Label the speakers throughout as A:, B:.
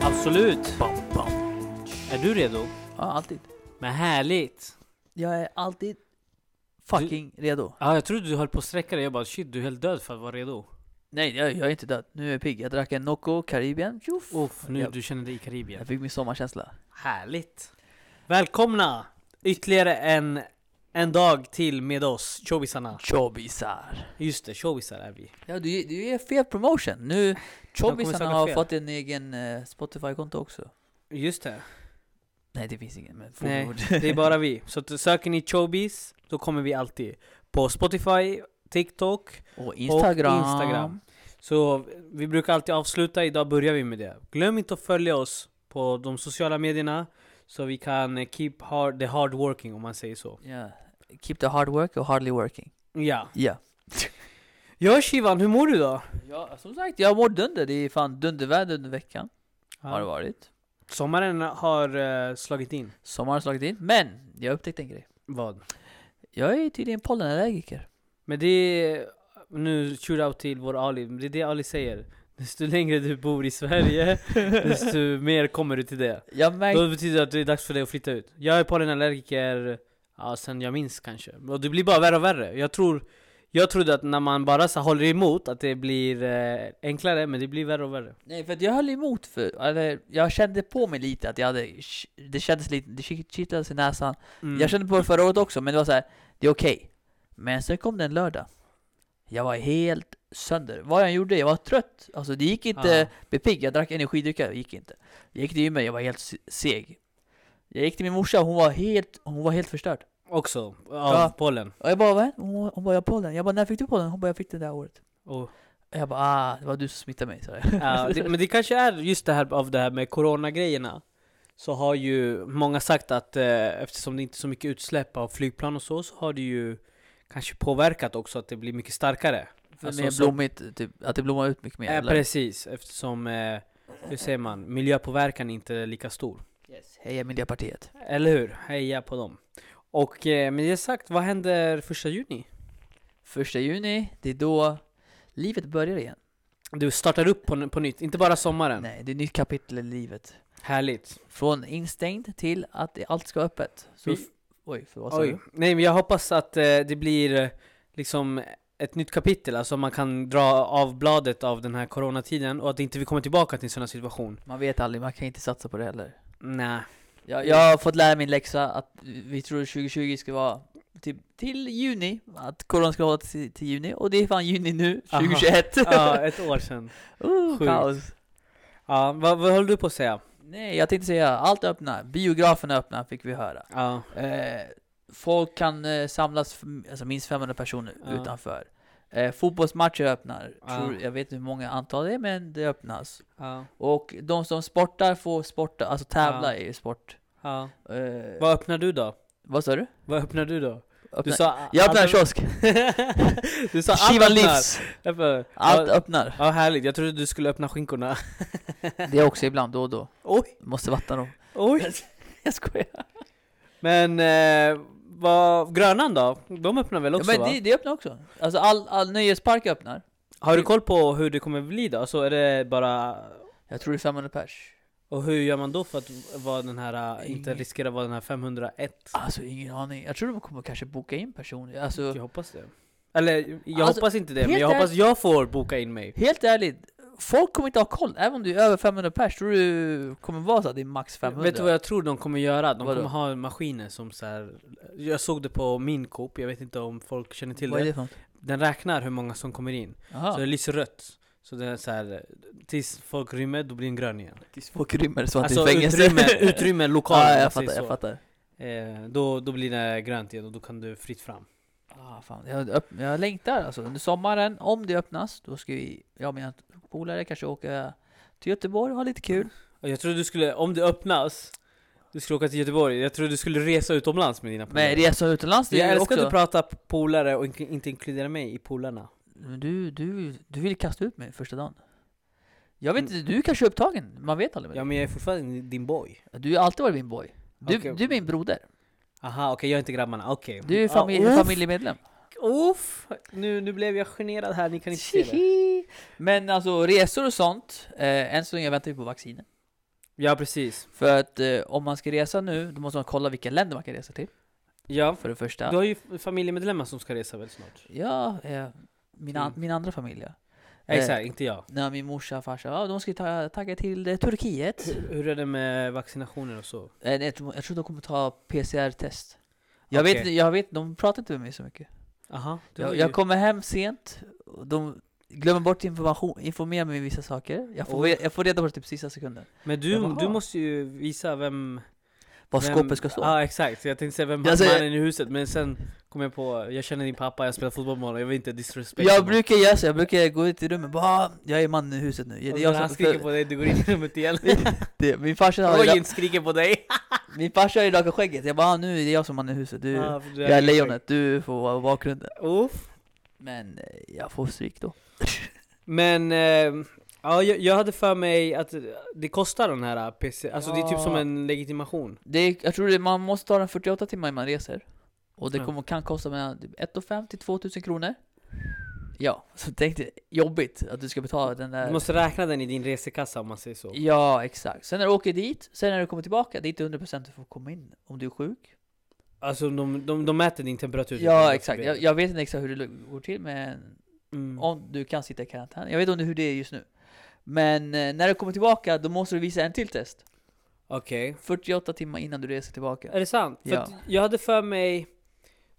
A: Absolut.
B: Är du redo?
A: Ja, alltid.
B: Men härligt!
A: Jag är alltid fucking redo.
B: Ja, jag trodde du höll på att sträcka dig. Jag bara shit, du är helt död för att vara redo.
A: Nej, jag, jag är inte död. Nu är jag pigg. Jag drack en Nocco Caribbean. Tjoff.
B: Uff, nu
A: jag,
B: du känner dig i Karibien.
A: jag fick min sommarkänsla.
B: Härligt! Välkomna! Ytterligare en, en dag till med oss, showbisarna.
A: Chobbisar.
B: Just det, showbisar är vi.
A: Ja, du, du ger fel promotion. Nu,
B: söka
A: chobbisarna har
B: fel.
A: fått en egen eh, Spotify-konto också.
B: Just det.
A: Nej, det finns ingen. Men
B: Nej,
A: fortsätt.
B: det är bara vi. Så att söker ni showbiz, då kommer vi alltid. På Spotify, TikTok,
A: Och Instagram.
B: Och Instagram. Så vi brukar alltid avsluta, idag börjar vi med det. Glöm inte att följa oss på de sociala medierna så vi kan eh, keep hard, the hard working om man säger så.
A: Ja. Keep the hard work och hardly working.
B: Ja.
A: Ja.
B: Ja Shivan, hur mår du då?
A: Ja, som sagt, jag mår dunder. Det är fan dunderväder under veckan. Har det varit.
B: Sommaren har eh, slagit in.
A: Sommaren har slagit in. Men, jag upptäckte en grej.
B: Vad?
A: Jag är tydligen pollenallergiker.
B: Men det är, nu shootout till vår Ali, Men det är det Ali säger. Desto längre du bor i Sverige, desto mer kommer du till det.
A: Jag märkte...
B: Då betyder det att det är dags för dig att flytta ut. Jag är pollenallergiker, ja sen jag minns kanske. Och det blir bara värre och värre. Jag tror, jag trodde att när man bara så här håller emot att det blir eh, enklare, men det blir värre och värre.
A: Nej, för att jag höll emot för... Eller, jag kände på mig lite att jag hade... Det kändes lite... Det ki- kittlades i näsan.
B: Mm.
A: Jag kände på det förra året också, men det var så här, Det är okej. Men sen kom det en lördag. Jag var helt sönder. Vad jag gjorde, jag var trött. Alltså det gick inte... blev pigg, jag drack energidrycker, det gick inte. Jag gick till gymmet, jag var helt se- seg. Jag gick till min morsa, hon var helt, hon var helt förstörd.
B: Också, av
A: Ja.
B: pollen.
A: Och jag bara vad? Hon, hon bara jag har pollen. Jag bara när fick du pollen? Hon bara jag fick det där året.
B: Och,
A: Och jag bara ah, det var du som smittade mig. Så jag.
B: ja, det, men det kanske är just det här av det här med coronagrejerna. Så har ju många sagt att eh, eftersom det inte är så mycket utsläpp av flygplan och så, så har det ju kanske påverkat också att det blir mycket starkare. Alltså,
A: mer
B: så-
A: blommigt, typ, att det blommar ut mycket mer.
B: Eh,
A: eller?
B: precis, eftersom, eh, hur säger man, miljöpåverkan inte är lika stor.
A: Heja Miljöpartiet.
B: Eller hur? Heja på dem. Och eh, med det sagt, vad händer första juni?
A: Första juni, det är då livet börjar igen.
B: Du startar upp på, på nytt, inte bara sommaren.
A: Nej, det är ett nytt kapitel i livet.
B: Härligt.
A: Från instängd till att det- allt ska vara öppet. Så,
B: Vi-
A: f- oj, för vad sa
B: Oj.
A: du?
B: Nej men jag hoppas att eh, det blir eh, liksom ett nytt kapitel, alltså man kan dra av bladet av den här coronatiden och att inte vi kommer tillbaka till en sån här situation.
A: Man vet aldrig, man kan inte satsa på det heller.
B: Nej.
A: Jag, jag har fått lära min läxa att vi tror 2020 ska vara till, till juni, att corona ska hålla till, till juni. Och det är fan juni nu,
B: Aha.
A: 2021.
B: Ja, ett år sedan.
A: oh,
B: sjukt.
A: kaos.
B: Ja, vad, vad höll du på att säga?
A: Nej, jag tänkte säga allt öppna. Biograferna öppna fick vi höra.
B: Ja.
A: Eh, folk kan eh, samlas, f- alltså minst 500 personer
B: Ja.
A: utanför. Eh, fotbollsmatcher öppnar.
B: Ja.
A: Tror, jag vet inte hur många antal det är, men det öppnas.
B: Ja.
A: Och de som sportar får sporta, alltså tävla i sport.
B: ja.
A: Eh,
B: Vad öppnar du då?
A: Vad sa du?
B: Vad öppnar du då?
A: Öppna.
B: Du sa
A: jag öppnar en
B: alla-
A: kiosk!
B: Du sa allt
A: Shiva
B: öppnar!
A: Livs!
B: Därför-
A: Allt
B: Ja,
A: öppnar!
B: ja härligt, jag trodde du skulle öppna skinkorna
A: Det är också ibland, då och då.
B: Oj,
A: Måste vattna dem.
B: oj!
A: Jag skojar.
B: Men eh, vad, Grönan då? De öppnar väl
A: Ja,
B: också
A: men
B: va?
A: det, det öppnar också. Alltså all, all nöjespark öppnar.
B: Har du koll på hur det kommer bli då? Så är det bara...
A: Jag tror det är 500 pers.
B: Och hur gör man då för att vara den här, eh, inte
A: Ingen-
B: riskera vara den här 501?
A: Alltså ingen aning. Jag tror de kommer kanske boka in personer. Alltså,
B: Jag hoppas det Eller jag
A: Alltså,
B: hoppas inte det, men
A: helt
B: jag hoppas
A: ärligt-
B: jag får boka in mig
A: Helt ärligt, folk kommer inte ha koll. Även om du är över 500 pers, tror du kommer vara så att det är max 500?
B: Vet du vad jag tror de kommer göra? De
A: Vadå?
B: kommer ha maskiner som så här. Jag såg det på min Coop, jag vet inte om folk känner till
A: Vad är
B: det
A: det för något?
B: Den räknar hur många som kommer in, så
A: Jaha.
B: det lyser rött Så det är så här, tills folk rymmer, då blir den grön igen
A: Tills folk rymmer så att
B: Alltså
A: det är fängelse.
B: utrymme, utrymme lokal
A: Ja,
B: om man
A: jag
B: säger
A: fattar, jag
B: så.
A: fattar.
B: Eh, då, då blir det grönt igen och då kan du fritt fram
A: Ah, fan. Jag, öpp- jag längtar alltså. Under sommaren, om det öppnas, då ska vi, jag och mina polare kanske åka till Göteborg och ha lite kul.
B: och Jag trodde du skulle, om det öppnas Du skulle åka till Göteborg, jag trodde du skulle resa utomlands med dina
A: Men resor utomlands, det
B: Jag
A: är ju
B: älskar att
A: också...
B: du pratar polare och ink- inte inkluderar mig i polarna
A: Men du, du, du vill kasta ut mig första dagen. Jag vet inte, du kanske är upptagen. Man vet aldrig.
B: Ja
A: med
B: men jag är fortfarande din boy
A: dig. Du har alltid varit min boy. Du,
B: Okej.
A: du är min broder.
B: Aha okej, jag är inte grabbarna, okej
A: Du är familj,
B: ah, uff,
A: familjemedlem.
B: uff. Nu, nu blev jag generad här, ni kan inte se det
A: Men alltså resor och sånt, eh, än så länge väntar vi på vacciner.
B: Ja precis.
A: För att eh, om man ska resa nu, då måste man kolla vilka länder man kan resa till.
B: Ja.
A: För det första.
B: Du har ju f- familjemedlemmar som ska resa väl snart?
A: Ja, eh, min, an-
B: Mm.
A: min andra familj ja. Eh,
B: Exakt, inte jag.
A: när min morsa och farsa, ja, de ska ju ta- tagga till eh, Turkiet.
B: Hur, hur är det med vaccinationer och så?
A: Eh, nej, jag tror jag tror de kommer ta PCR-test. Jag, vet
B: Okej.
A: vet, jag vet, de pratar inte med mig så mycket.
B: Aha, du har
A: Jag,
B: ju-
A: jag kommer hem sent, och de glömmer bort information, informera mig om vissa saker. Jag får,
B: Oj.
A: re- jag får reda på det typ sista sekunden.
B: Men
A: Jaha.
B: du, du måste ju visa vem...
A: Vad
B: vem...
A: skåpet ska stå.
B: Ja exakt, jag tänkte säga vem
A: Jag säger-
B: mannen i huset men sen kom jag på, jag känner din pappa, jag spelar fotboll med honom, jag vill inte disrespekta
A: jag brukar göra så, jag brukar gå ut i rummet och bara "Ah, Jag är man i huset nu. Jag,
B: honom.
A: det är
B: Jag
A: jag
B: han
A: som,
B: skriker
A: för,
B: på dig, du går in i rummet igen.
A: det, min farsa har ju
B: Rogen skriker på dig!
A: Min farsa har ju rakat skägget, jag bara ah, nu är det jag som man i huset, du,
B: Ja, Ah, för du
A: jag är lejonet, du får vara bakgrunden
B: Uff.
A: Men eh, jag får stryk då
B: Men, eh, ja jag, jag hade för mig att det kostar den här PC, alltså det är typ
A: Ja.
B: som en legitimation.
A: det är, Jag tror det, man måste ta den 48 timmar innan man reser Och det
B: Ja.
A: kommer, kan kosta mellan typ 1 500 till 2000 kronor Ja, så tänk dig, jobbigt att du ska betala den där
B: Du måste räkna den i din resekassa om man säger så.
A: Ja, exakt. Sen när du åker dit, sen när du kommer tillbaka, det är inte 100% du får komma in om du är sjuk
B: Alltså de, de, de mäter din temperatur.
A: Ja, exakt. Jag, jag vet inte exakt hur det går till men
B: Mm.
A: Om du kan sitta i karantän. Jag vet inte hur det är just nu. Men eh, när du kommer tillbaka, då måste du visa en till test.
B: Okej.
A: 48 timmar innan du reser tillbaka.
B: Är det sant? För
A: Ja.
B: att jag hade för mig...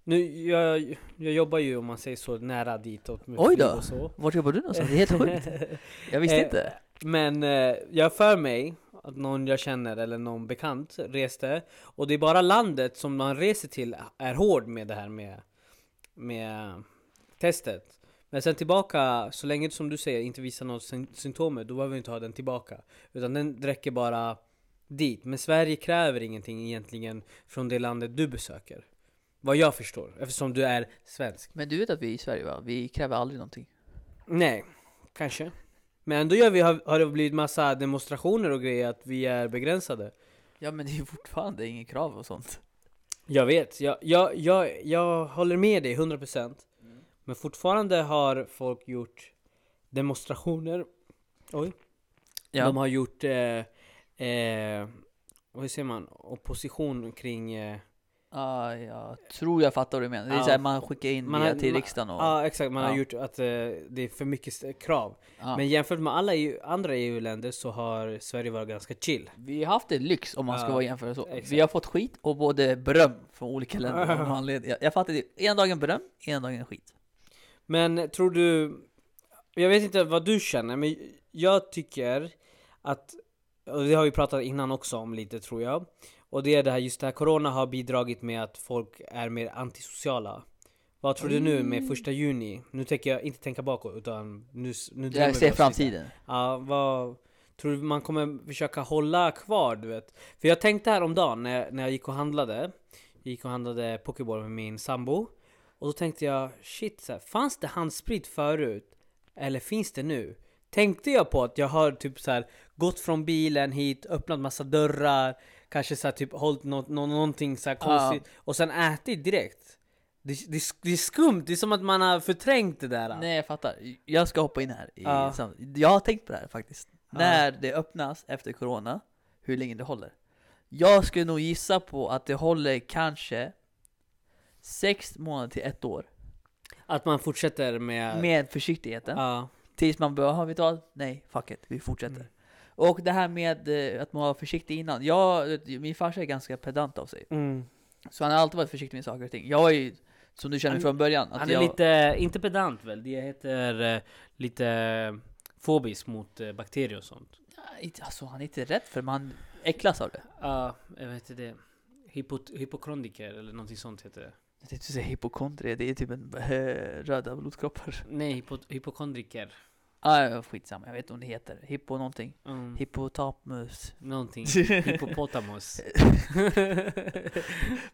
B: Nu, jag, jag jobbar ju om man säger så nära ditåt med
A: Oj
B: flyg
A: då.
B: och så.
A: Vart jobbar du någonstans? Det är helt sjukt. Jag visste
B: Eh,
A: inte.
B: Men eh, jag har för mig att någon jag känner eller någon bekant reste och det är bara landet som man reser till är hård med det här med, med testet. Men sen tillbaka, så länge som du säger inte visar några syn- symptom, då behöver vi inte ha den tillbaka. Utan den räcker bara dit. Men Sverige kräver ingenting egentligen från det landet du besöker. Vad jag förstår, eftersom du är svensk.
A: Men du vet att vi i Sverige va? Vi kräver aldrig någonting.
B: Nej, kanske. Men ändå gör vi, har, har det blivit massa demonstrationer och grejer att vi är begränsade.
A: Ja men det är ju fortfarande inget krav och sånt.
B: Jag vet, jag, jag, jag, jag håller med dig 100%
A: Mm.
B: Men fortfarande har folk gjort demonstrationer Oj
A: Ja.
B: De har gjort, eh, eh, hur säger man, opposition kring eh,
A: Ah, jag tror jag fattar vad du menar. Det är
B: Ja.
A: såhär man skickar in
B: Man
A: via
B: har-
A: till
B: man-
A: riksdagen och...
B: Ja exakt, man
A: ja.
B: har gjort att eh, det är för mycket st- krav
A: ja.
B: Men jämfört med alla EU, andra EU-länder så har Sverige varit ganska chill
A: vi har haft en lyx om man ska
B: Ja,
A: vara jämförd så. Vi
B: exakt.
A: har fått skit och både beröm från olika länder. av någon anledning. Jag, jag fattar det. Ena dagen beröm, ena dagen skit.
B: Men tror du... Jag vet inte vad du känner, men jag tycker att... Och det har vi pratat innan också om lite tror jag. Och det är det här, just det här corona har bidragit med att folk är mer antisociala. Vad tror du nu
A: Mm.
B: med första juni? Nu tänker jag inte tänka bakåt utan nu, s- nu drömmer
A: Jag
B: vi
A: ser
B: oss lite.
A: framtiden.
B: Ja, vad... Tror du man kommer försöka hålla kvar, du vet? För jag tänkte häromdagen när jag, när jag gick och handlade. Jag gick och handlade Pokéball med min sambo. Och då tänkte jag, shit, så här, fanns det handsprit förut? Eller finns det nu? Tänkte jag på att jag har typ så här, gått från bilen hit, öppnat massa dörrar, kanske så här, typ hållit nå- nå- någonting så här konstigt och sen ätit direkt. Det, det, är sk- det är skumt, det är som att man har förträngt det där.
A: Nej jag fattar, jag ska hoppa in här i
B: Ja.
A: sam- Jag har tänkt på det här faktiskt
B: Ja.
A: När det öppnas efter corona, hur länge det håller Jag skulle nog gissa på att det håller kanske sex månader till ett år
B: Att man fortsätter med...
A: Med försiktigheten
B: Ja.
A: Tills man börjar, har vi talat? Nej, fuck it, vi fortsätter
B: Mm.
A: Och det här med eh, att man var försiktig innan jag, Min farsa är ganska pedant av sig
B: Mm.
A: Så han har alltid varit försiktig med saker och ting Jag är ju, som du känner
B: Han-
A: från början att
B: Han är
A: jag,
B: lite, inte pedant väl? Det heter eh, lite fobisk mot eh, bakterier och sånt.
A: Nej, inte- alltså, han är inte rädd för det, men han äcklas av det
B: Ja, jag vet inte det. Hypot- hypokroniker eller någonting sånt heter det.
A: Jag tänkte säga hypokondrie, det är typ en eh, röda blodkroppar.
B: Nej, hypo- hypokondriker.
A: Ah, ja, skitsamma, jag vet inte om det heter. Hippo någonting.
B: Mm,
A: Hippotamus.
B: någonting. Hippopotamus.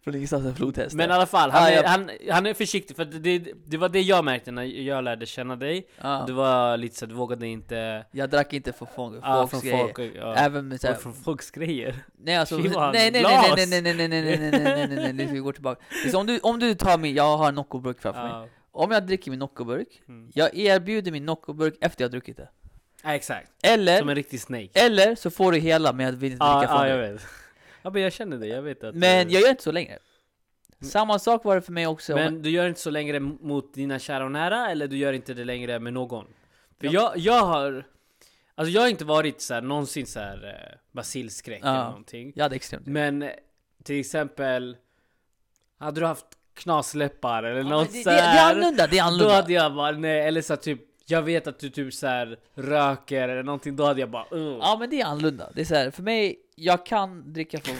A: Från ingenstans en flodhäst.
B: Men i alla fall, han,
A: Ja,
B: är,
A: jag-
B: han, han är försiktig för det, det var det jag märkte när jag lärde känna dig.
A: ja.
B: Du var lite så att du vågade inte...
A: Jag drack inte för folk,
B: Ja,
A: folks
B: från
A: grejer.
B: folk. och- Ja.
A: Även med
B: Och
A: såhär,
B: Från folks grejer.
A: nej alltså, nej
B: Fy vad
A: nej nej nej
B: glas.
A: nej nej nej nej nej nej nej nej nej nej nej vi går tillbaka. Det är som om du, om du tar min, jag har en Noccoburk framför mig.
B: Ja.
A: Om jag dricker min Noccoburk,
B: Mm.
A: jag erbjuder min Noccoburk efter jag har druckit det.
B: Ja, exakt. Som
A: Eller,
B: en riktig snake.
A: eller så får du hela men jag vill inte
B: Ja,
A: dricka från
B: ja, jag
A: dig.
B: vet. Ja, men jag känner det. Jag vet att...
A: Men
B: eh,
A: jag gör inte så längre. Samma sak var det för mig också.
B: Men du gör inte så längre mot dina kära och nära, eller du gör inte det längre med någon? För
A: Ja.
B: jag, jag har... Alltså jag har inte varit så här, någonsin så här eh, basilskräck
A: Ja.
B: eller någonting.
A: Jag hade extremt
B: Men eh, till exempel, hade du haft knasläppar eller
A: Ja, men
B: något
A: det, det,
B: så
A: det är
B: här,
A: annorlunda, det är
B: Då
A: annorlunda.
B: hade jag bara nej, eller så här, typ jag vet att du typ så här röker eller någonting, då hade jag bara uh.
A: Ja men det är annorlunda. Det är så här, för mig, jag kan dricka från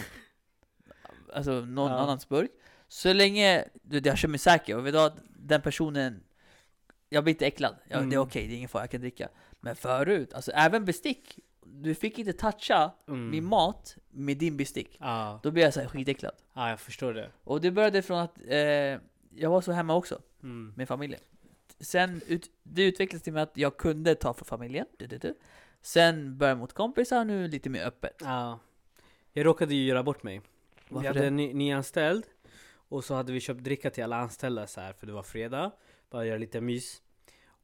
A: alltså, någon
B: Ja.
A: annans burk. Så länge du, jag känner mig säker och vet du att den personen, jag blir inte äcklad. Jag, Det är okej,
B: Mm.
A: det är ingen fara, jag kan dricka. Men förut, alltså även bestick. Du fick inte toucha
B: Mm.
A: min mat med din bestick.
B: Ja,
A: Då blev jag så här skitäcklad.
B: ja, jag förstår det.
A: Och det började från att eh, jag var så hemma också
B: Mm.
A: med familjen. Sen ut, det utvecklades till med att jag kunde ta för familjen. Du, du, du. Sen började jag mot kompisar, nu lite mer öppet.
B: Ja. Jag råkade ju göra bort mig.
A: Varför
B: vi hade
A: det?
B: en ny, nyanställd och så hade vi köpt dricka till alla anställda så här för det var fredag. Bara göra lite mys.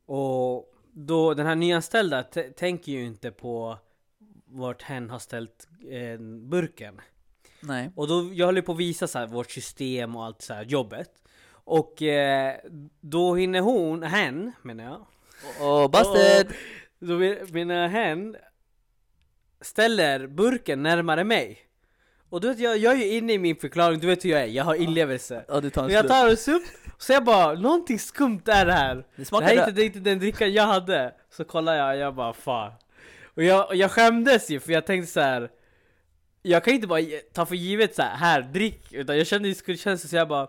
B: Och då den här nyanställda t- tänker ju inte på vart hen har ställt eh, burken.
A: Nej.
B: Och då, jag höll ju på att visa så här, vårt system och allt så här, jobbet. Och eh, då hinner hon, hen menar jag,
A: Och busted!
B: då vi- menar hen ställer burken närmare mig. Och du vet, jag, jag är ju inne i min förklaring, du vet hur jag är, jag har inlevelse.
A: Ja, du tar en
B: Och jag
A: slurk.
B: tar en sup, och så jag bara, någonting skumt är det här.
A: Det
B: Det här
A: smakar
B: är inte,
A: rök.
B: det är inte den drickan jag hade. Så kollar jag, jag bara fan. Och jag, och jag skämdes ju för jag tänkte så här. Jag kan inte bara ge- ta för givet så här, här drick. Utan jag kände ju skuldkänsla så jag bara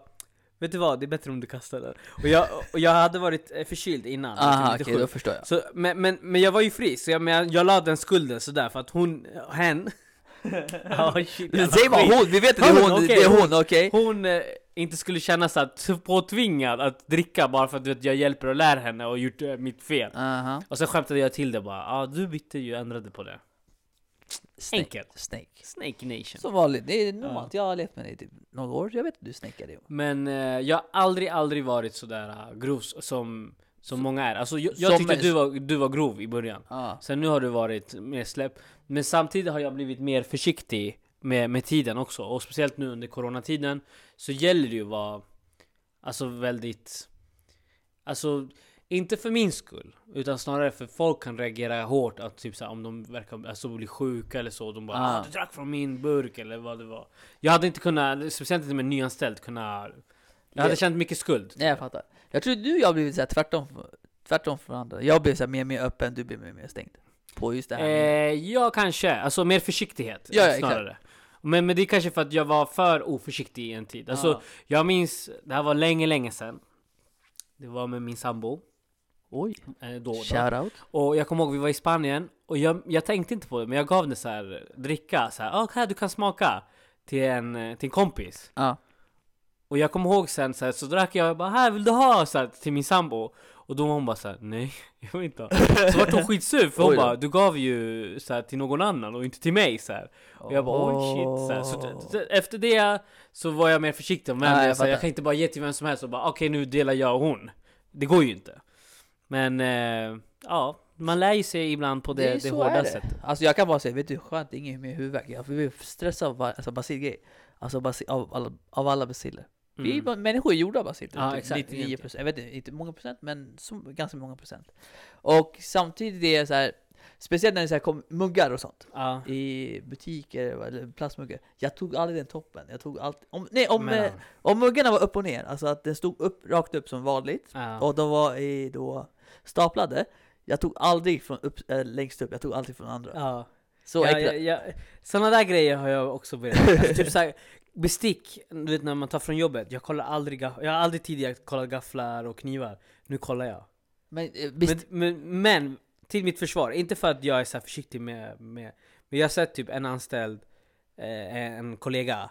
B: Vet du vad, det är bättre om du kastar den. Och jag, och jag hade varit eh, förkyld innan. jag var
A: Aha,
B: lite
A: Ah, okej,
B: sjuk.
A: då förstår jag.
B: Så, men, men, men jag var ju frisk, så jag, men jag, jag la den skulden sådär för att hon, hen... oh, shit, jävla
A: Säg
B: skit.
A: bara hon, vi vet att det är
B: Hon,
A: hon,
B: okej,
A: det är
B: hon.
A: hon, okej?
B: hon eh, inte skulle känna sig att- påtvingad att dricka bara för att du vet, jag hjälper och lär henne och gjort eh, mitt fel.
A: Aha.
B: Och sen skämtade jag till det bara, ja ah, du bytte ju, ändrade på det.
A: Snake.
B: Enkelt.
A: Snake.
B: Snake Nation.
A: Som vanligt, det är normalt. Jag har levt med dig i typ några år, jag vet att du snakear det.
B: Men eh, jag har aldrig, aldrig varit sådär uh, grov s- som, som många är. Alltså jag, jag
A: Som-
B: tyckte du var, du var grov i början.
A: Ah.
B: Sen nu har du varit mer släpp. Men samtidigt har jag blivit mer försiktig med, med tiden också. Och speciellt nu under coronatiden så gäller det ju att vara alltså väldigt... Alltså inte för min skull, utan snarare för folk kan reagera hårt att typ så här, om de verkar alltså, bli sjuka eller så. De bara
A: Ah.
B: ah, du drack från min burk eller vad det var. Jag hade inte kunnat, speciellt inte med nyanställd, kunna... Jag hade
A: Ja.
B: känt mycket skuld.
A: Nej jag fattar. Jag tror du och jag har blivit såhär tvärtom, tvärtom från andra. Jag blev såhär mer och mer öppen, du blev mer och mer stängd. På just det här med-
B: Eh, ja, kanske. Alltså mer försiktighet
A: Ja, ja,
B: snarare. Men, men det är kanske för att jag var för oförsiktig i en tid. Alltså,
A: Ja.
B: Jag minns, det här var länge, länge sedan. Det var med min sambo.
A: Oj,
B: Eh, då, och då.
A: shoutout.
B: Och jag kommer ihåg, vi var i Spanien. Och jag, jag tänkte inte på det, men jag gav henne så här dricka. Så här, ah, här, du kan smaka. Till en, eh, till en kompis.
A: Ja.
B: Och jag kommer ihåg sen så, här, så drack jag, jag bara här vill du ha? Så här, till min sambo Och då var hon bara såhär, nej jag vill inte ha Så vart hon skitsur för hon
A: Oj då.
B: bara, du gav ju så här, till någon annan och inte till mig så här. Och jag bara oj shit så, här. så t- t- efter det så var jag mer försiktig Men
A: Ja, jag
B: jag, så här,
A: fattar.
B: jag kan inte bara ge till vem som helst och bara okej nu delar jag och hon Det går ju inte Men eh, ja, man lär ju sig ibland på
A: Det
B: det,
A: är
B: det,
A: så är
B: hårda
A: det.
B: sättet
A: Alltså jag kan bara säga, vet du hur skönt, det är inget mer huvudvärk. Jag blir stressad av var- alltså, basilgrejer. Alltså basi- av, alla, av alla basiller. Vi är
B: Mm.
A: bara, människor är gjorda av basiler.
B: Ja,
A: typ
B: exakt,
A: 99 procent, jag vet inte, inte många procent men så, ganska många procent. Och samtidigt är det så här, speciellt när det är så här, kom, muggar och sånt.
B: Ja.
A: I butiker, eller plastmuggar. Jag tog aldrig den toppen. Jag tog allt, om, nej, om,
B: Mellan.
A: eh, om muggarna var upp och ner, alltså att den stod upp, rakt upp som vanligt.
B: Ja.
A: Och de var i, då staplade. Jag tog aldrig från upp, eh, längst upp, jag tog alltid från andra.
B: Ja.
A: Så
B: ja,
A: äckligt.
B: ja, ja. Såna där grejer har jag också börjat med. alltså, typ så här, Bestick, du vet när man tar från jobbet, jag kollar aldrig gaff- jag har aldrig tidigare kollat gafflar och knivar Nu kollar jag
A: Men eh,
B: men,
A: visst,
B: men, men, till mitt försvar, inte för att jag är så här försiktig med, med Men jag har sett typ en anställd, eh, en kollega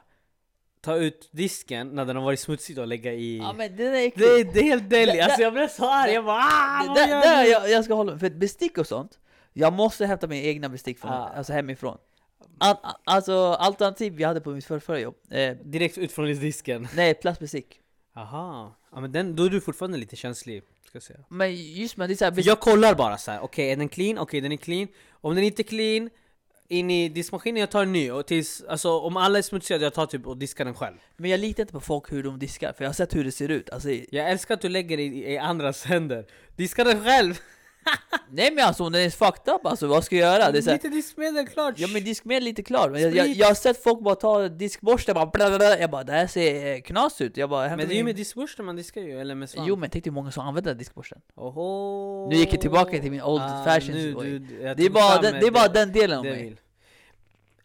B: Ta ut disken när den har varit smutsig och lägga i
A: ja men det där är äckligt.
B: det, det är helt deli,
A: Det-
B: alltså jag blev så arg,
A: det-
B: jag bara ah,
A: Det
B: vad
A: där,
B: gör
A: där
B: du?"
A: jag, jag ska hålla med, för ett bestick och sånt, jag måste hämta mina egna bestick från,
B: Ah.
A: alltså hemifrån. An, a- alltså alternativ jag hade på mitt förra, förra jobb, eh,
B: Direkt ut från disken
A: nej plastbestick.
B: Aha. Ja, men den, då är du fortfarande lite känslig. Ska jag, säga.
A: Men just men det är så här,
B: För
A: visst-
B: jag kollar bara så här. okej är den clean? Okej den är clean. Om den inte är clean, in i diskmaskinen, jag tar en ny. Och tills, alltså, om alla är smutsiga, jag tar typ och diskar den själv.
A: men jag litar inte på folk hur de diskar, för jag har sett hur det ser ut. Alltså, i-
B: Jag älskar att du lägger det i, i andras händer. Diska den själv!
A: nej men alltså om den är fucked up, alltså vad ska jag göra? Det är så här,
B: Lite diskmedel klart!
A: Ja men diskmedel är lite klar, men jag, jag,
B: Sprit.
A: jag har sett folk bara ta diskborste bara bla, bla, bla. Jag bara det här ser eh, knas ut, jag bara
B: men det är ju med diskborsten man diskar ju, eller med svamp.
A: Jo men tänk dig hur många som använder diskborsten
B: Oho.
A: Nu gick jag tillbaka till min old fashioned
B: Ah, nu,
A: way.
B: du- jag
A: Det är
B: tog
A: bara,
B: fram
A: den,
B: ett-
A: det är bara den delen av
B: det
A: mig
B: vill.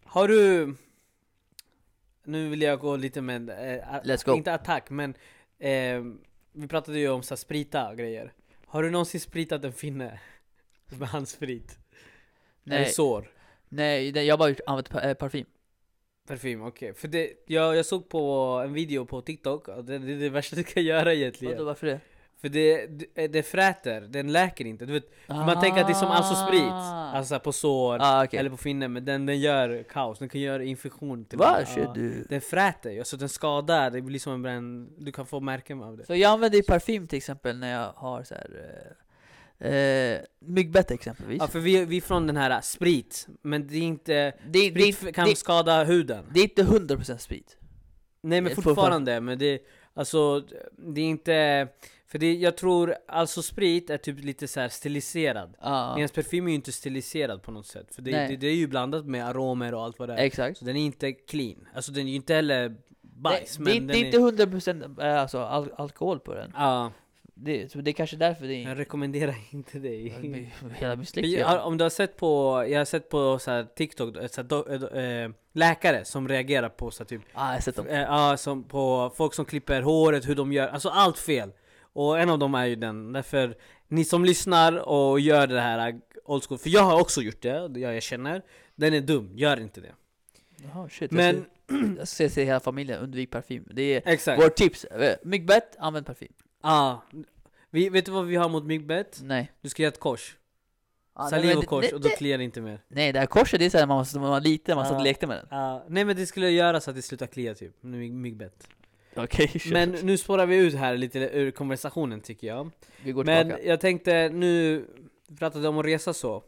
B: Har du... Nu vill jag gå lite med... Eh, a-
A: Let's go.
B: Inte attack, men... Eh, vi pratade ju om så här, sprita och grejer. Har du någonsin spritat en finne? Med handsprit? Eller
A: Nej,
B: sår?
A: nej det- jag har bara gjort- använt pa- eh, parfym
B: Parfym, okej. För det, jag, jag såg på en video på TikTok, och det, det är det värsta du kan göra
A: Vadå,
B: egentligen.
A: varför det?
B: För det, det, det fräter, den läker inte. Du vet, man tänker att det är som Alsosprit,
A: Ah.
B: alltså på sår,
A: Ah, okej.
B: eller på finnen, men den, den gör kaos, den kan göra infektion till och
A: Va?
B: med.
A: Shit,
B: Ja.
A: du.
B: Den fräter ju, alltså den skadar, det blir som en bränn, du kan få märken av det
A: Så jag använder ju parfym till exempel när jag har så här, eh, eh, myggbett exempelvis
B: Ja för vi, vi är från den här äh, sprit, men det är inte,
A: det, det,
B: sprit
A: det,
B: kan
A: det,
B: skada huden
A: det är inte 100% sprit
B: Nej
A: Eh,
B: men
A: för-
B: fortfarande, men det, alltså det är inte, för det, jag tror, alltså sprit är typ lite så här stiliserad
A: Ja,
B: Medans parfym är ju inte stiliserad på något sätt, för det,
A: Nej.
B: det, det är ju blandat med aromer och allt vad det är
A: exakt
B: Så den är inte clean, alltså den är ju inte heller bajs
A: det, det,
B: men
A: det
B: den
A: är inte 100% eh, alltså, al alkohol på den
B: Ja,
A: det, så det är kanske därför det är
B: jag rekommenderar inte dig
A: Hela min släkt
B: Men
A: gör
B: jag- Om du har sett på, jag har sett på så här TikTok, då, så här, do, eh, do, eh, läkare som reagerar på så här, typ,
A: Ah, jag har sett dem.
B: eh, ja, som på folk som klipper håret, hur de gör, alltså allt fel. Och en av dem är ju den, därför ni som lyssnar och gör det här eh, old school, för jag har också gjort det, det jag erkänner, den är dum, gör inte det.
A: Jaha, shit.
B: Men
A: Men... Jag ska säga till hela familjen, undvik parfym. Det är
B: exakt,
A: vårt tips. Eh, Myggbett, använd parfym.
B: ja. Vi, vet du vad vi har mot myggbett?
A: Nej.
B: Du ska göra ett kors,
A: Ah, nej,
B: saliv
A: men
B: och
A: det-
B: kors,
A: det-
B: och då
A: det-
B: kliar det inte mer.
A: Nej, det här korset, det är såhär man, var- man var liten, man satt och
B: Ja.
A: lekte med den.
B: Ja, nej men det skulle göra så att det slutar klia typ, med myg- myggbett.
A: Okej, okay,
B: Men nu spårar vi ut här lite ur konversationen tycker jag.
A: vi går
B: Men
A: tillbaka.
B: jag tänkte, nu vi pratade om att resa så.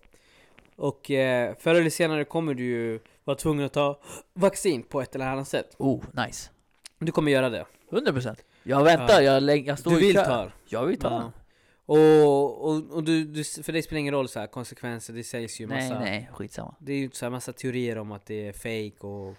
B: Och eh, förr eller senare kommer du ju vara tvungen att ta vaccin på ett eller annat sätt.
A: Oh, nice.
B: Du kommer göra det.
A: 100%. Jag väntar,
B: Ja.
A: jag, läng- jag står
B: Du
A: i
B: vill
A: kö.
B: ta.
A: Jag vill ta den.
B: Ja. Och, och, och du, du, för dig spelar det ingen roll så här, konsekvenser, det sägs ju
A: Nej,
B: massa.
A: nej, skitsamma.
B: Det är ju så här massa teorier om att det är fake och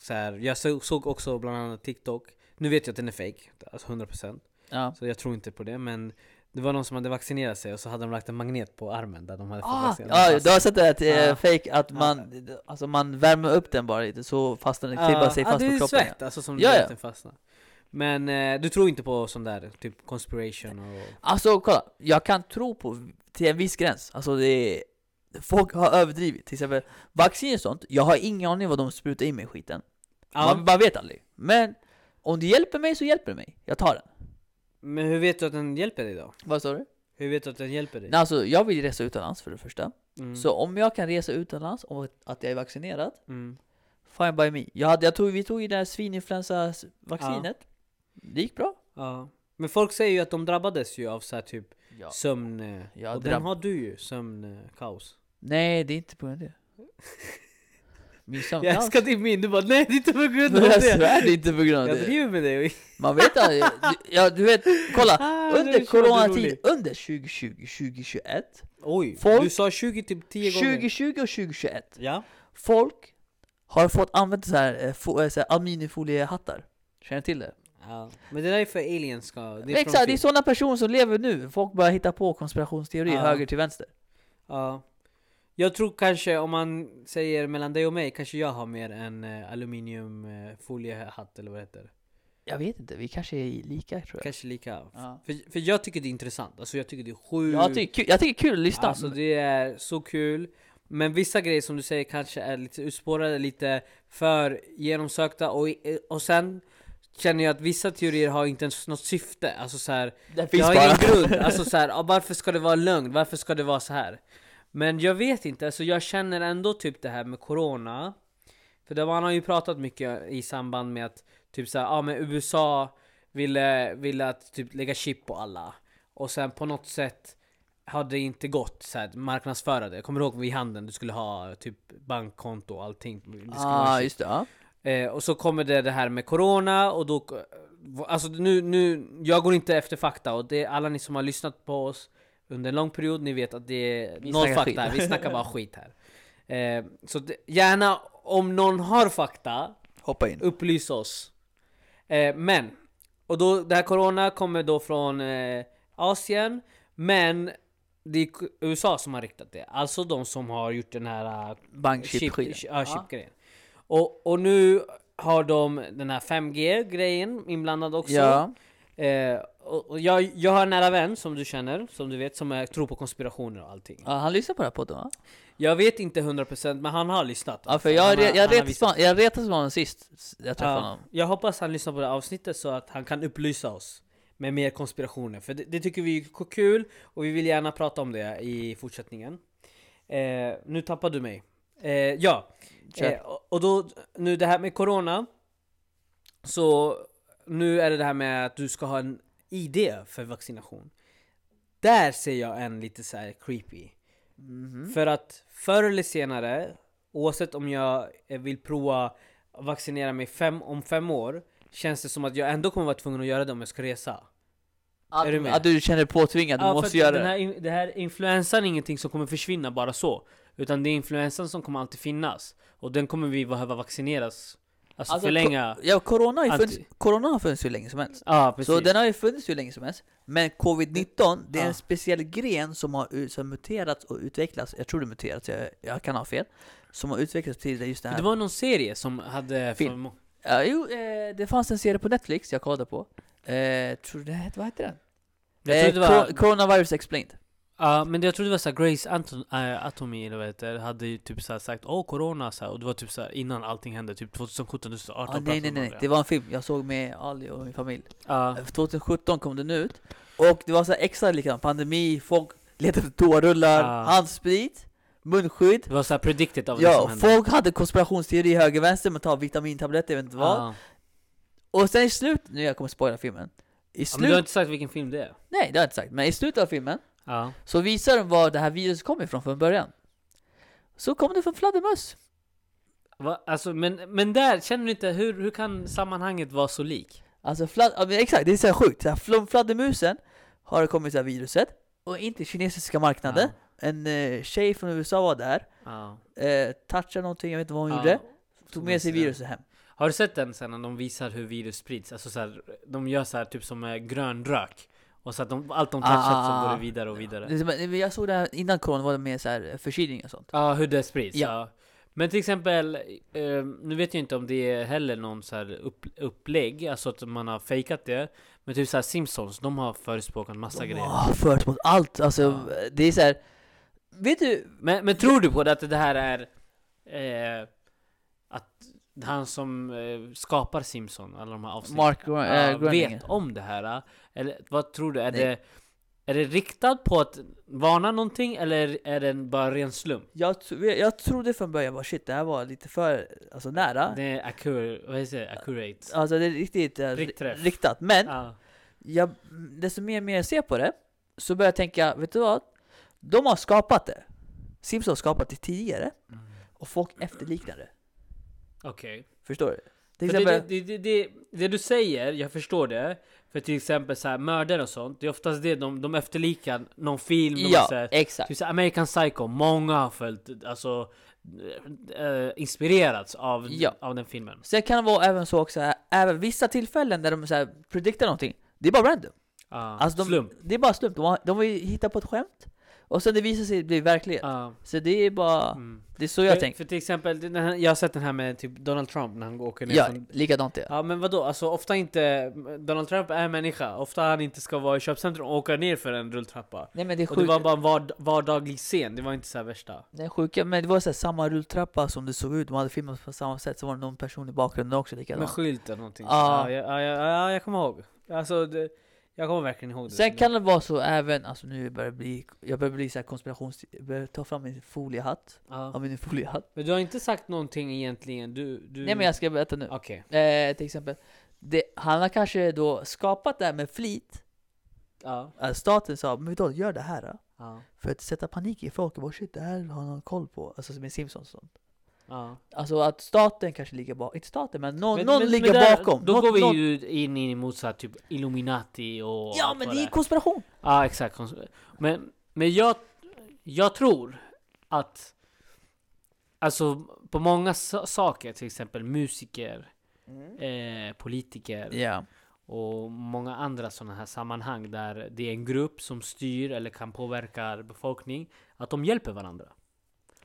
B: så här. Jag så- såg också bland annat TikTok. Nu vet jag att den är fake, alltså 100%.
A: Ja.
B: Så jag tror inte på det, men det var någon som hade vaccinerat sig och så hade de lagt en magnet på armen där de hade fått Alltså,
A: Ah,
B: vaccinera
A: ja,
B: sig.
A: du har sett det där att, eh,
B: Ja.
A: fake, att man, alltså man värmer upp den bara lite så fastnar den, klibbar sig
B: Ja,
A: fast
B: det
A: på
B: är
A: kroppen.
B: svett alltså som
A: Ja,
B: gör
A: ja.
B: att den fastnar. Men eh, du tror inte på sån där typ conspiration och...
A: Alltså kolla, jag kan tro på till en viss gräns, alltså det är, Folk har överdrivit, till exempel vaccin och sånt, jag har ingen aning vad de sprutar in mig i skiten man,
B: Ja,
A: man vet aldrig Men om det hjälper mig så hjälper det mig, jag tar den
B: men hur vet du att den hjälper dig då?
A: Vad sa du?
B: Hur vet du att den hjälper dig?
A: Nej, alltså, jag vill resa utomlands för det första
B: Mm.
A: Så om jag kan resa utomlands och att jag är vaccinerad,
B: Mm.
A: fine by me jag hade, jag tog, Vi tog ju det här svininfluensa-vaccinet Det gick bra
B: Ja. Men folk säger ju att de drabbades ju av så här typ
A: ja.
B: sömn... eh,
A: Ja,
B: och
A: drabb-
B: den har du ju, sömnkaos.
A: Nej, det är inte på grund av det Min
B: Jag
A: sömnkaos
B: älskar din min, du bara nej det är inte på grund av
A: Jag
B: det!
A: svär det är inte på grund av
B: Jag
A: det
B: driver med dig!
A: Man vet aldrig, Du- ja du vet, kolla!
B: Ah, det är
A: Under
B: så
A: coronatid,
B: roligt.
A: under 2020, 2021
B: Oj,
A: Folk-
B: du sa 20 typ 10 gånger
A: 2020 och 2021
B: Ja,
A: Folk har fått använda så här, eh, fo- eh, så här aluminiumfoliehattar Känner du till det?
B: ja. Men det där är för aliens ska... Det
A: Det
B: är
A: Exakt,
B: från
A: det är
B: film.
A: sådana personer som lever nu, folk börjar hitta på konspirationsteorier
B: Ja.
A: höger till vänster
B: Ja. Jag tror kanske om man säger mellan dig och mig, kanske jag har mer en eh, aluminiumfoliehatt eller vad det heter.
A: Jag vet inte, vi kanske är lika tror jag
B: Kanske lika.
A: ja.
B: För, för jag tycker det är intressant, alltså jag tycker det är sjukt.
A: jag, tycker, kul- jag tycker kul att lyssna
B: Alltså det är så kul. Men vissa grejer som du säger kanske är lite utspårade, lite för genomsökta och, och sen känner jag att vissa teorier har inte ens något syfte. Alltså så här,
A: Det
B: jag har ingen grund, alltså så här, ah, varför ska det vara lögn? Varför ska det vara så här? Men jag vet inte, alltså jag känner ändå typ det här med Corona För det, man har ju pratat mycket i samband med att typ så här, ah, men USA ville, ville att typ lägga chip på alla. Och sen på något sätt hade det inte gått så här, att marknadsföra det. Jag kommer ihåg vid handeln, du skulle ha typ bankkonto och allting. Det skulle
A: ah,
B: vara chip.
A: just det. Ja.
B: Eh, och så kommer det det här med corona och då... Alltså nu, nu, jag går inte efter fakta och det alla ni som har lyssnat på oss under en lång period, ni vet att det är
A: Vi
B: noll
A: snackar
B: fakta,
A: skit.
B: vi snackar bara skit här. Eh, så det, gärna om någon har fakta,
A: Hoppa in.
B: upplys oss. Eh, men, och då, det här corona kommer då från eh, Asien, men det är k- USA som har riktat det. Alltså de som har gjort den här eh,
A: Bankchip-skiten.
B: chip, ja, chipgrejen. Och, och nu har de den här 5G-grejen inblandad också.
A: Ja.
B: Eh, och, och jag, jag har en nära vän som du känner, som du vet, som är, tror på konspirationer och allting.
A: ja, han lyssnar på den här podden va?
B: Jag vet inte 100% men han har lyssnat.
A: Ja, för
B: Han
A: jag,
B: har-
A: re-
B: han har
A: jag, retas
B: visat
A: på, jag retas på honom sist jag träffade
B: Ja,
A: honom.
B: Jag hoppas han lyssnar på det här avsnittet så att han kan upplysa oss med mer konspirationer. För det, det tycker vi är k- kul och vi vill gärna prata om det i fortsättningen. Eh, nu tappar du mig. Eh, ja,
A: Kör.
B: eh, och- och då nu det här med corona. Så nu är det det här med att du ska ha en ID för vaccination. Där ser jag en lite så här creepy.
A: Mhm.
B: För att förr eller senare, oavsett om jag eh, vill prova att vaccinera mig fem, om fem år, känns det som att jag ändå kommer vara tvungen att göra det om jag ska resa.
A: Att,
B: Är du med?
A: att du känner dig påtvingad, du
B: Ja, för att
A: måste göra
B: den här,
A: det.
B: in- det här influensan är ingenting som kommer försvinna bara så. Utan det är influensan som kommer alltid finnas. Och den kommer vi behöva vaccineras. Alltså,
A: Alltså,
B: förlänga.
A: ko- Ja, corona har, ju
B: Anti-
A: funnits, corona har funnits hur länge som helst.
B: Ja, precis.
A: Så den har ju funnits hur länge som helst. Men covid-19, det är
B: Ja.
A: en speciell gren som har u- som muterats och utvecklats. Jag tror det muterats, jag, jag kan ha fel. Som har utvecklats till just det här.
B: Det var någon serie som hade...
A: Film.
B: för må-
A: Ja, jo, eh, det fanns en serie på Netflix jag kollade på. Eh, tror du det hette, vad hette den?
B: Jag tror
A: eh,
B: det var...
A: Cor- Coronavirus Explained.
B: Ja, men jag tror det var såhär Grace Anton, äh, Atomy eller vad det heter, hade ju typ såhär sagt åh corona såhär, och det var typ såhär innan allting hände, typ 2017, 2018
A: Ah, nej, nej, nej, det var en film jag såg med Ali och min familj.
B: Ja,
A: 2017 kom den ut. Och det var så här extra likadant, pandemi, folk letade efter toarullar,
B: Ah.
A: handsprit, munskydd.
B: det var såhär predicted av det
A: Ja,
B: som hände.
A: folk hade konspirationsteori höger vänster med att ta vitamintabletter, jag vet inte vad.
B: Ja.
A: Och sen i slut, nu jag kommer spoila filmen. I
B: Ja,
A: slut,
B: men du har inte sagt vilken film det är?
A: nej det har jag inte sagt, men i slutet av filmen
B: Ja.
A: så visar de var det här viruset kom ifrån från början. Så kom det från fladdermöss.
B: Va? Alltså, men, men där, känner du inte, hur, hur kan sammanhanget vara så lik?
A: Alltså fladd, ja, men exakt, det är så här sjukt. Så här, från fladdermusen har det kommit så här viruset. Och inte kinesiska marknaden. En eh, tjej från USA var där.
B: Ja.
A: eh, touchade någonting, jag vet inte vad hon
B: Ja.
A: gjorde. Tog
B: tog
A: med
B: med
A: sig
B: sig den.
A: viruset hem.
B: Har du sett den sen när de visar hur virus sprids? Alltså såhär, de gör såhär typ som eh, grön rök. Och så att de, allt de touchar
A: Ah.
B: så går det vidare och vidare.
A: Det är som- men Jag såg det här innan corona, var det med så här eh, förkylning och sånt.
B: Ja, hur det sprids.
A: Ja.
B: Ja. Men till exempel, eh, nu vet jag inte om det är heller någon så här upp, upplägg, alltså att man har fejkat det. Men typ så här Simpsons, de har förespråkat massa
A: De
B: grejer.
A: har fört mot allt, alltså
B: Ja.
A: det är så här. Vet du?
B: Men, men tror du på det att det här är eh, att han som eh, skapar Simpson, alla de här avsnitten,
A: Mark Gro- eh,
B: ja,
A: Groening.
B: vet om det här? eh? Eller vad tror du? Är
A: Nej.
B: det, är det riktat på att varna någonting eller är det bara ren slump?
A: Jag, tro- jag trodde från början bara shit, det här var lite för alltså, nära.
B: Det är accurate, vad heter det? Accurate.
A: Alltså det är riktigt eh,
B: Riktträff.
A: riktat. Men
B: Ja.
A: jag, desto mer och mer jag ser på det, så börjar jag tänka, vet du vad? De har skapat det. Simpsons har skapat det tidigare,
B: Mm.
A: och folk efterliknar det.
B: Okej.
A: Förstår du? Till
B: För
A: exempel,
B: Det, det, det, det, det du säger, jag förstår det. För till exempel så här, mördare och sånt, det är oftast det de, de efterlikar någon film. någon så
A: ja,
B: här,
A: exakt.
B: typ så här, American Psycho, många har följt, alltså eh, inspirerats av,
A: Ja.
B: av den filmen.
A: Sen kan det vara även så också, här, även vissa tillfällen där de så här prediktar någonting, det är bara random.
B: Ja,
A: Alltså de,
B: slump.
A: Det är bara slump. De har, de har ju hittat på ett skämt, och sen det visar sig bli verklighet.
B: Ja,
A: Så det är bara,
B: mm.
A: det är så jag
B: för,
A: tänker.
B: för till exempel, den här, jag har sett den här med typ Donald Trump när han åker ner
A: Ja,
B: från
A: likadant är
B: Ja men vadå, alltså ofta inte, Donald Trump är människa, ofta han inte ska vara i köpcentrum och åka ner för en rulltrappa.
A: Nej men det är
B: Och det
A: sjukt.
B: var bara en vard- vardaglig scen, det var inte så här värsta.
A: Den sjuka, men det var så här, samma rulltrappa som det såg ut, de hade filmat på samma sätt, så var det någon person i bakgrunden också
B: Med
A: likadant.
B: skylt eller någonting.
A: Ja.
B: Ja, ja, ja, ja, ja jag kommer ihåg. Alltså, det, jag kommer verkligen ihåg det.
A: Sen kan det vara så även, alltså nu börjar det bli, jag börjar bli så här konspirations... Jag börjar ta fram min foliehatt,
B: ja.
A: av min foliehatt.
B: Men du har inte sagt någonting egentligen. Du, du...
A: Nej men jag ska berätta nu.
B: Okej.
A: Eh, till exempel, det, han har kanske då skapat det här med flit.
B: Ja.
A: Att staten sa, men då gör det här. Då.
B: Ja.
A: För att sätta panik i folk, och bara shit det här har någon koll på. Alltså som i Simpsons och sånt.
B: ja.
A: Alltså att staten kanske ligger bakom, inte staten men någon,
B: Men-
A: någon
B: men-
A: ligger
B: men där-
A: bakom.
B: Då
A: någon,
B: går
A: någon...
B: vi ju in i motsatt typ Illuminati och
A: Ja
B: allt
A: men
B: vad
A: det är konspiration!
B: Ja, exakt. Kons- Men, men jag, jag tror att... Alltså, på många sa- saker, till exempel musiker,
A: Mm.
B: eh, politiker
A: Ja.
B: och många andra sådana här sammanhang där det är en grupp som styr eller kan påverka befolkning, att de hjälper varandra.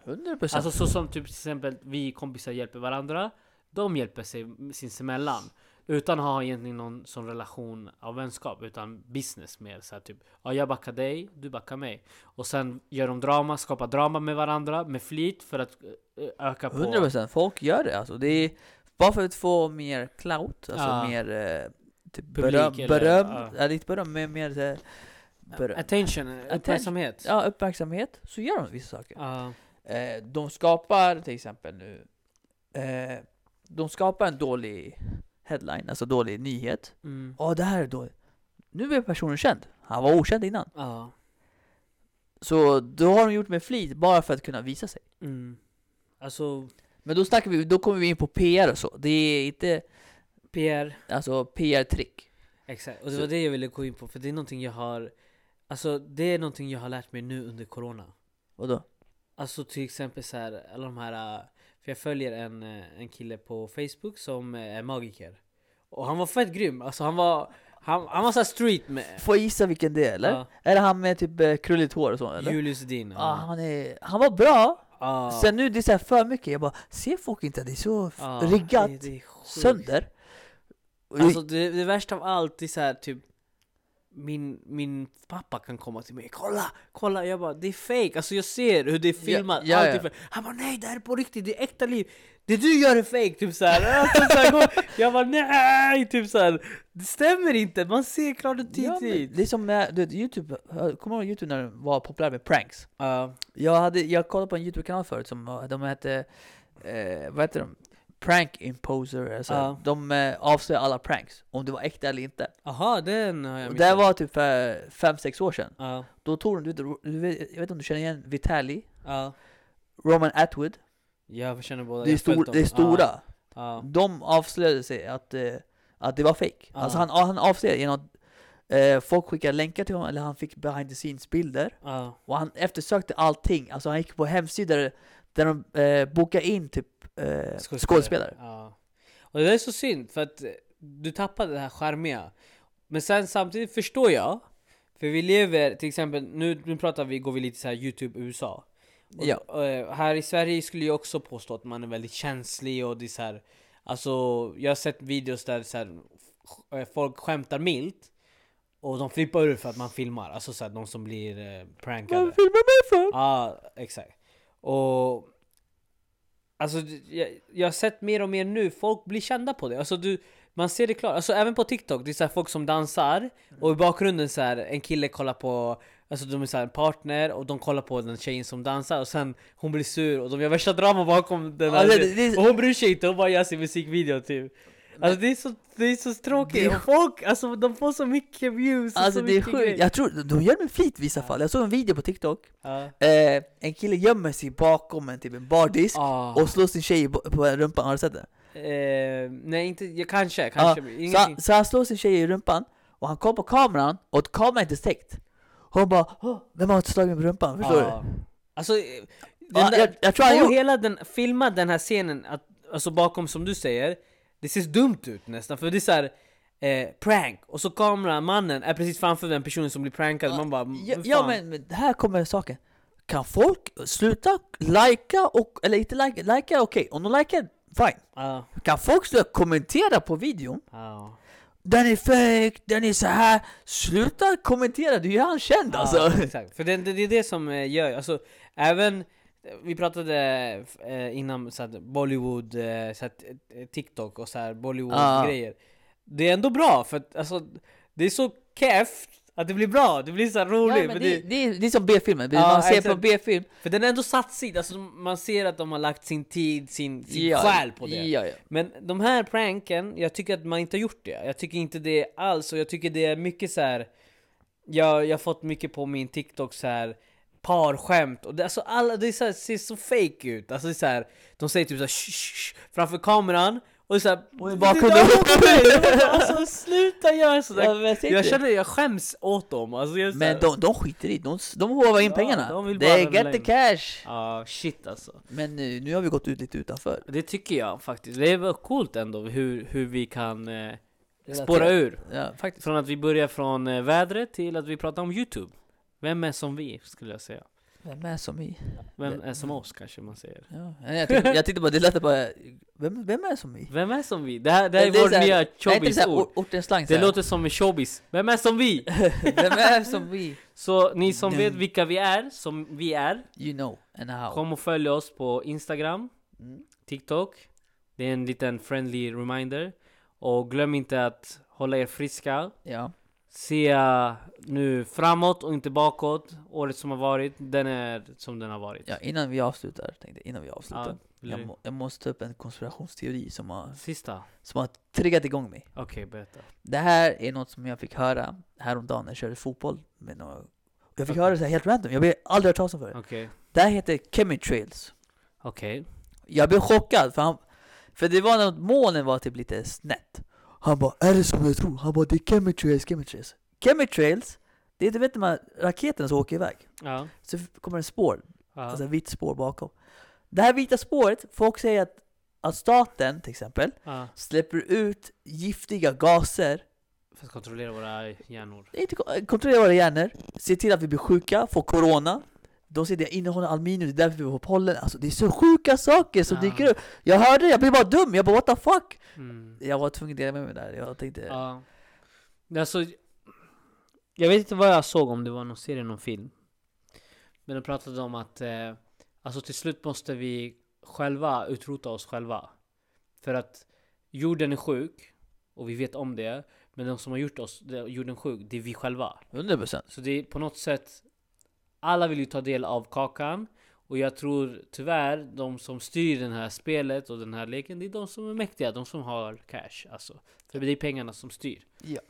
A: 100%
B: Alltså så som typ till exempel vi kompisar hjälper varandra, de hjälper sig sinsemellan. Utan att ha egentligen någon sån relation av vänskap, utan business mer så här typ Ja jag backar dig, du backar mig. Och sen gör de drama, skapar drama med varandra med flit för att eh, öka på...
A: 100% folk gör det alltså. Det är bara för att få mer clout, alltså
B: Ja.
A: mer eh, typ
B: Publik
A: beröm,
B: eller-
A: beröm,
B: ja.
A: ja. lite beröm, men mer eh, beröm.
B: Attention, uppmärksamhet.
A: Ja, uppmärksamhet, så gör de vissa saker.
B: Ja.
A: Eh, de skapar till exempel nu, eh, de skapar en dålig headline, alltså dålig nyhet.
B: Mm.
A: Ja, det här är dåligt. Nu är personen känd. Han var okänd innan.
B: Ja.
A: Så då har de gjort med flit bara för att kunna visa sig.
B: Mm. Alltså,
A: Men då snackar vi, då kommer vi in på PR och så. Det är inte,
B: PR.
A: alltså PR-trick.
B: Exakt, och det
A: Så-
B: var det jag ville gå in på för det är någonting jag har... Alltså det är någonting jag har lärt mig nu under corona.
A: Vadå?
B: Alltså till exempel så här, alla de här... äh, För jag följer en, äh, en kille på Facebook som äh, är magiker. Och han var fett grym, alltså han var... Han, han var såhär street med...
A: Får jag gissa vilken det är eller?
B: Ja,
A: Är det han med typ eh, krulligt hår och så eller?
B: Julius Dean.
A: Ja, han, är, han var bra,
B: Ja.
A: sen nu det är så här för mycket, jag bara ser folk inte att det är så f-
B: Ja,
A: riggat
B: det- det är sjukt.
A: sönder? Och
B: Alltså det, det värsta av allt är såhär typ... Min, min pappa kan komma till mig kolla, kolla, jag bara det är fake, alltså jag ser hur det är filmat,
A: ja,
B: allt
A: ja.
B: är fake. Han bara nej det här är på riktigt, det är äkta liv, det du gör är fake, typ såhär, alltså, så här, gå- Jag bara nej, typ såhär, det stämmer inte, man ser klart och
A: ja, men
B: tydligt
A: det är som med, du vet, Youtube, jag kommer du ihåg Youtube när den var populär med pranks?
B: Ja,
A: Jag, hade, jag kollade på en Youtube-kanal förut som eh, de hette, eh, vad heter de? Prank imposer, alltså,
B: Ja.
A: de eh, avslöjar alla pranks, om det var äkta eller inte.
B: aha den har jag
A: Och det här
B: missat
A: var typ för 5-6 år sedan.
B: Ja,
A: Då tog de, du, du, vet- jag vet inte om du känner igen Vitali,
B: ja,
A: Roman Atwood,
B: jag känner båda,
A: det är,
B: jag har
A: stor,
B: följt
A: det är
B: dem.
A: stora.
B: Ja,
A: De avslöjade sig att, eh, att det var fake.
B: Ja.
A: Alltså han, han avslöjade genom att eh, folk skickade länkar till honom, eller han fick behind the scenes bilder.
B: ja,
A: Och han eftersökte allting, alltså han gick på hemsidor där de eh, bokade in typ eh,
B: Skådespelare.
A: skådespelare.
B: Ja. Och det där är så synd för att eh, du tappade det här charmiga. Men sen samtidigt förstår jag. För vi lever, till exempel, nu, nu pratar vi, går vi lite så här Youtube USA. Och,
A: Ja.
B: och, eh, här i Sverige skulle jag också påstå att man är väldigt känslig och det är så här, Alltså, jag har sett videos där så här, f- eh, folk skämtar milt. Och de flippar ur för att man filmar, alltså så här, de som blir eh, prankade.
A: Vad filmar mig för?
B: Ja, exakt. Och... Alltså, d- jag, jag har sett mer och mer nu, folk blir kända på det. Alltså, du, man ser det klart. Alltså, även på TikTok, det är så här folk som dansar
A: Mm.
B: och i bakgrunden så här, en kille kollar på Alltså de är så här en partner och de kollar på den tjejen som dansar och sen hon blir sur och de gör värsta drama bakom den
A: Ja,
B: här
A: det- det- det-
B: Och hon bryr sig inte, hon bara gör sin musikvideo typ Alltså det är så, det är så tråkigt,
A: Det-
B: och folk, alltså de får så mycket views och
A: Alltså
B: så
A: det är
B: mycket
A: sjukt,
B: grejer.
A: jag tror, de gör det med flit i vissa fall. Jag såg en video på TikTok,
B: Ja.
A: eh, en kille gömmer sig bakom en typ en bardisk
B: Ah.
A: och slår sin tjej i bo- på rumpan, har du sett det?
B: Eh, nej inte, jag kanske,
A: Ja,
B: kanske.
A: så,
B: ingenting.
A: han, så han slår sin tjej i rumpan, och han kom på kameran, och kameran är inte stäckt. Hon bara "Åh, Vem har slagit mig på rumpan? Förstår du?
B: Ja. Alltså, eh, den
A: Ja,
B: där,
A: jag- jag tror han
B: få
A: gjorde-
B: hela den, filma den här scenen, att, alltså bakom som du säger, det ser dumt ut nästan för det är såhär eh, prank, och så kameramannen är precis framför den personen som blir prankad, man bara
A: Ja,
B: "Vad
A: ja
B: Mm, fan?"
A: men, men här kommer saken. Kan folk sluta likea och, eller inte like, likea okej, om de likar fine.
B: Ja,
A: Kan folk sluta kommentera på videon?
B: ja.
A: Den är fake, den är så här. Sluta kommentera, du gör han känd alltså.
B: Ja, exakt. För det, det, det är det som eh, gör, alltså även vi pratade eh, innan så att Bollywood, eh, så att, eh, TikTok och så här Bollywood
A: Ja.
B: grejer Det är ändå bra för att alltså, det är så keft Att det blir bra, det blir så här roligt.
A: Nej,
B: för,
A: men
B: det,
A: det, det, är, det är som B-filmen,
B: Ja,
A: man ser på
B: exakt.
A: B-film
B: för den är ändå satsig, alltså man ser att de har lagt sin tid, sin, sin
A: Ja,
B: själ på det.
A: Ja, ja.
B: Men de här pranken, jag tycker att man inte har gjort det. Jag tycker inte det alls och jag tycker det är mycket så här. Jag, jag har fått mycket på min TikTok så här parskämt och det, alltså alla, det är så här, ser så fake ut. Alltså det är så här, de säger typ så här, "Shh, shh, shh", framför kameran och det är så här,
A: Och i
B: "Det
A: bakgrunden."
B: där var på mig! Jag bara, Alltså sluta göra
A: Ja,
B: sådär!
A: men jag ser
B: jag
A: inte.
B: känner, jag skäms åt dem. Alltså, jag är så
A: Men
B: här-
A: de, de skiter i det. de, s- de håvar in
B: Ja,
A: pengarna.
B: de vill bara
A: They
B: lämna
A: get the
B: in.
A: cash!
B: Ja, shit alltså.
A: Men nu, nu har vi gått ut lite utanför.
B: Det tycker jag faktiskt. Det är väl coolt ändå hur, hur vi kan eh,
A: Relatera.
B: spåra ur.
A: Ja, faktiskt.
B: Från att vi börjar från eh, vädret till att vi pratar om Youtube. Vem är som vi, skulle jag säga.
A: Vem är som vi?
B: Vem är som oss, kanske man säger.
A: Ja. nej, Jag, tyckte, jag tyckte bara, det lät bara... Vem, vem är som vi?
B: Vem är som vi? Det här, det här är
A: Det är
B: vårt
A: så här-
B: nya
A: Nej, inte såhär
B: showbiz-ord.
A: ortens slang
B: Det
A: såhär.
B: låter som en showbiz. Vem är som vi?
A: Vem är som vi?
B: Så ni som vet
A: Mm.
B: vilka vi är, som vi är,
A: You know and how.
B: kom och följ oss på Instagram,
A: Mm.
B: TikTok. Det är en liten friendly reminder. Och glöm inte att hålla er friska.
A: Ja.
B: Se eh, nu framåt och inte bakåt. Året som har varit, den är som den har varit.
A: ja, innan vi avslutar, tänkte jag, innan vi avslutar.
B: Ja, vill du-
A: jag, må, jag måste ta upp en konspirationsteori som har,
B: Sista?
A: som har triggat igång mig.
B: Okej, berätta.
A: Det här är något som jag fick höra häromdagen när jag körde fotboll med några jag fick höra det så här helt random, jag har aldrig hört talas om förut.
B: Okej.
A: Det här heter chemitrails.
B: Okej.
A: Jag blev chockad för han, för det var när molnen var typ lite snett. Han bara 'Är det som jag tror?' Han bara 'Det är chemitrails, chemitrails' Chemitrails, det är du vet de här raketerna som åker iväg.
B: Ja.
A: Så f- kommer det spår,
B: ja.
A: alltså vitt spår bakom. Det här vita spåret, folk säger att, att staten till exempel
B: ja.
A: släpper ut giftiga gaser
B: För att kontrollera våra hjärnor.
A: Det är inte ko- eh, kontrollera våra hjärnor, se till att vi blir sjuka, får corona. De säger det innehåller aluminium, det är därför vi får pollen. Alltså det är så sjuka saker som
B: Ja.
A: dyker upp. Jag hörde det, jag blev bara dum, jag bara what the fuck?
B: Mm.
A: Jag var tvungen att dela med mig där, jag tänkte... Ja,
B: Ja. Alltså, jag vet inte vad jag såg, om det var någon serie, någon film. Men de pratade om att eh, alltså till slut måste vi själva utrota oss själva. För att jorden är sjuk, och vi vet om det. Men de som har gjort oss, det- jorden sjuk, det är vi själva.
A: 100%.
B: Så det är på något sätt Alla vill ju ta del av kakan Och jag tror tyvärr de som styr det här spelet och den här leken Det är de som är mäktiga, de som har cash alltså För det är pengarna som styr
A: Ja.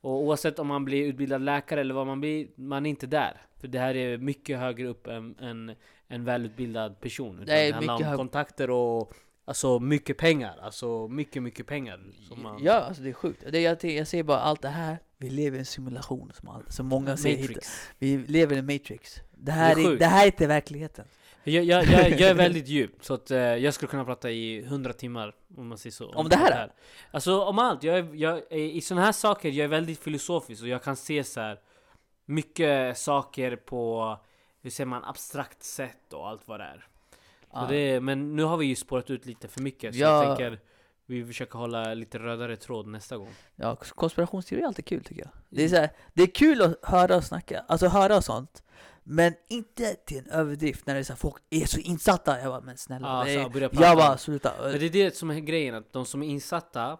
B: Och oavsett om man blir utbildad läkare eller vad man blir Man är inte där För det här är mycket högre upp än en, en välutbildad person Utan
A: Det är
B: det handlar om
A: mycket hög-
B: kontakter och Alltså mycket pengar, alltså mycket mycket pengar som man...
A: Ja, alltså det är sjukt. Det, jag, jag ser bara allt det här, vi lever i en simulation som, all, som många säger. hit.
B: Matrix
A: Vi lever i en matrix. Det här,
B: Det är
A: är,
B: sjukt.
A: det här är inte verkligheten.
B: Jag, jag, jag, jag är väldigt djup, så att eh, jag skulle kunna prata i hundra timmar om man säger så.
A: Om det här?
B: Alltså om allt. Jag är, jag, är- I sådana här saker, jag är väldigt filosofisk och jag kan se så här mycket saker på, hur säger man, abstrakt sätt och allt vad det är.
A: Ja.
B: Så det, men nu har vi ju spårat ut lite för mycket, så
A: Ja.
B: jag tänker vi försöker hålla lite rödare tråd nästa gång.
A: Ja, konspirationsteorier är alltid kul tycker jag. Det är,
B: Mm.
A: så här, det är kul att höra och snacka, alltså höra och sånt. Men inte till en överdrift när det är så här, folk är så insatta. Jag bara, men snälla.
B: Ja,
A: det
B: så
A: är,
B: här, börja prata
A: jag
B: om-
A: bara, sluta.
B: Men det är det som är grejen, att de som är insatta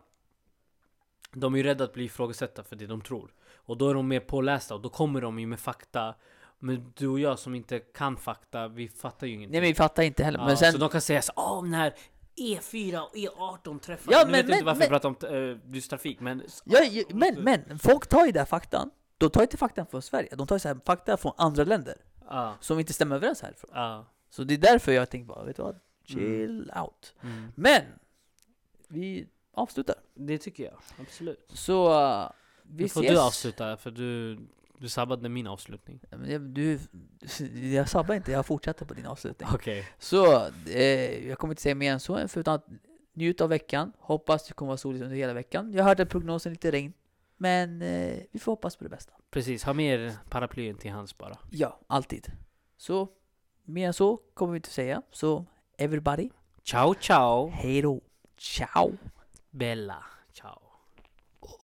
B: De är ju rädda att bli ifrågasatta för det de tror Och då är de mer pålästa och då kommer de ju med fakta Men du och jag som inte kan fakta, vi fattar ju ingenting
A: Nej men vi fattar inte heller.
B: ja,
A: men sen,
B: Så de kan säga så "Åh, när E4 och E18 träffas
A: Ja,
B: Nu
A: men-
B: vet jag inte
A: men-
B: varför
A: men-
B: jag pratar om uh, just trafik men
A: ja, ju- men, men folk tar ju den här faktan. De tar inte faktan från Sverige, de tar ju så här, fakta från andra länder.
B: Ja,
A: Som inte stämmer överens härifrån.
B: ja
A: Så det är därför jag tänkte bara, vet du vad? Chill out.
B: mm.
A: Men! Vi avslutar.
B: Det tycker jag, absolut
A: Så, uh, vi
B: Nu får
A: ses.
B: du avsluta för du, du sabbade min avslutning
A: Ja, men jag- Du, jag sabbar inte, jag fortsätter på din avslutning.
B: Okej
A: Så, eh, jag kommer inte säga mer än så, förutom att njut av veckan. Hoppas det kommer vara soligt under hela veckan. Jag hörde att prognosen är lite regn, men eh, vi får hoppas på det bästa.
B: Precis, ha med er paraplyen till hands bara
A: Ja, alltid. Så, mer än så kommer vi inte säga. Så, everybody,
B: Ciao ciao
A: hej då. Ciao!
B: Bella. Ciao.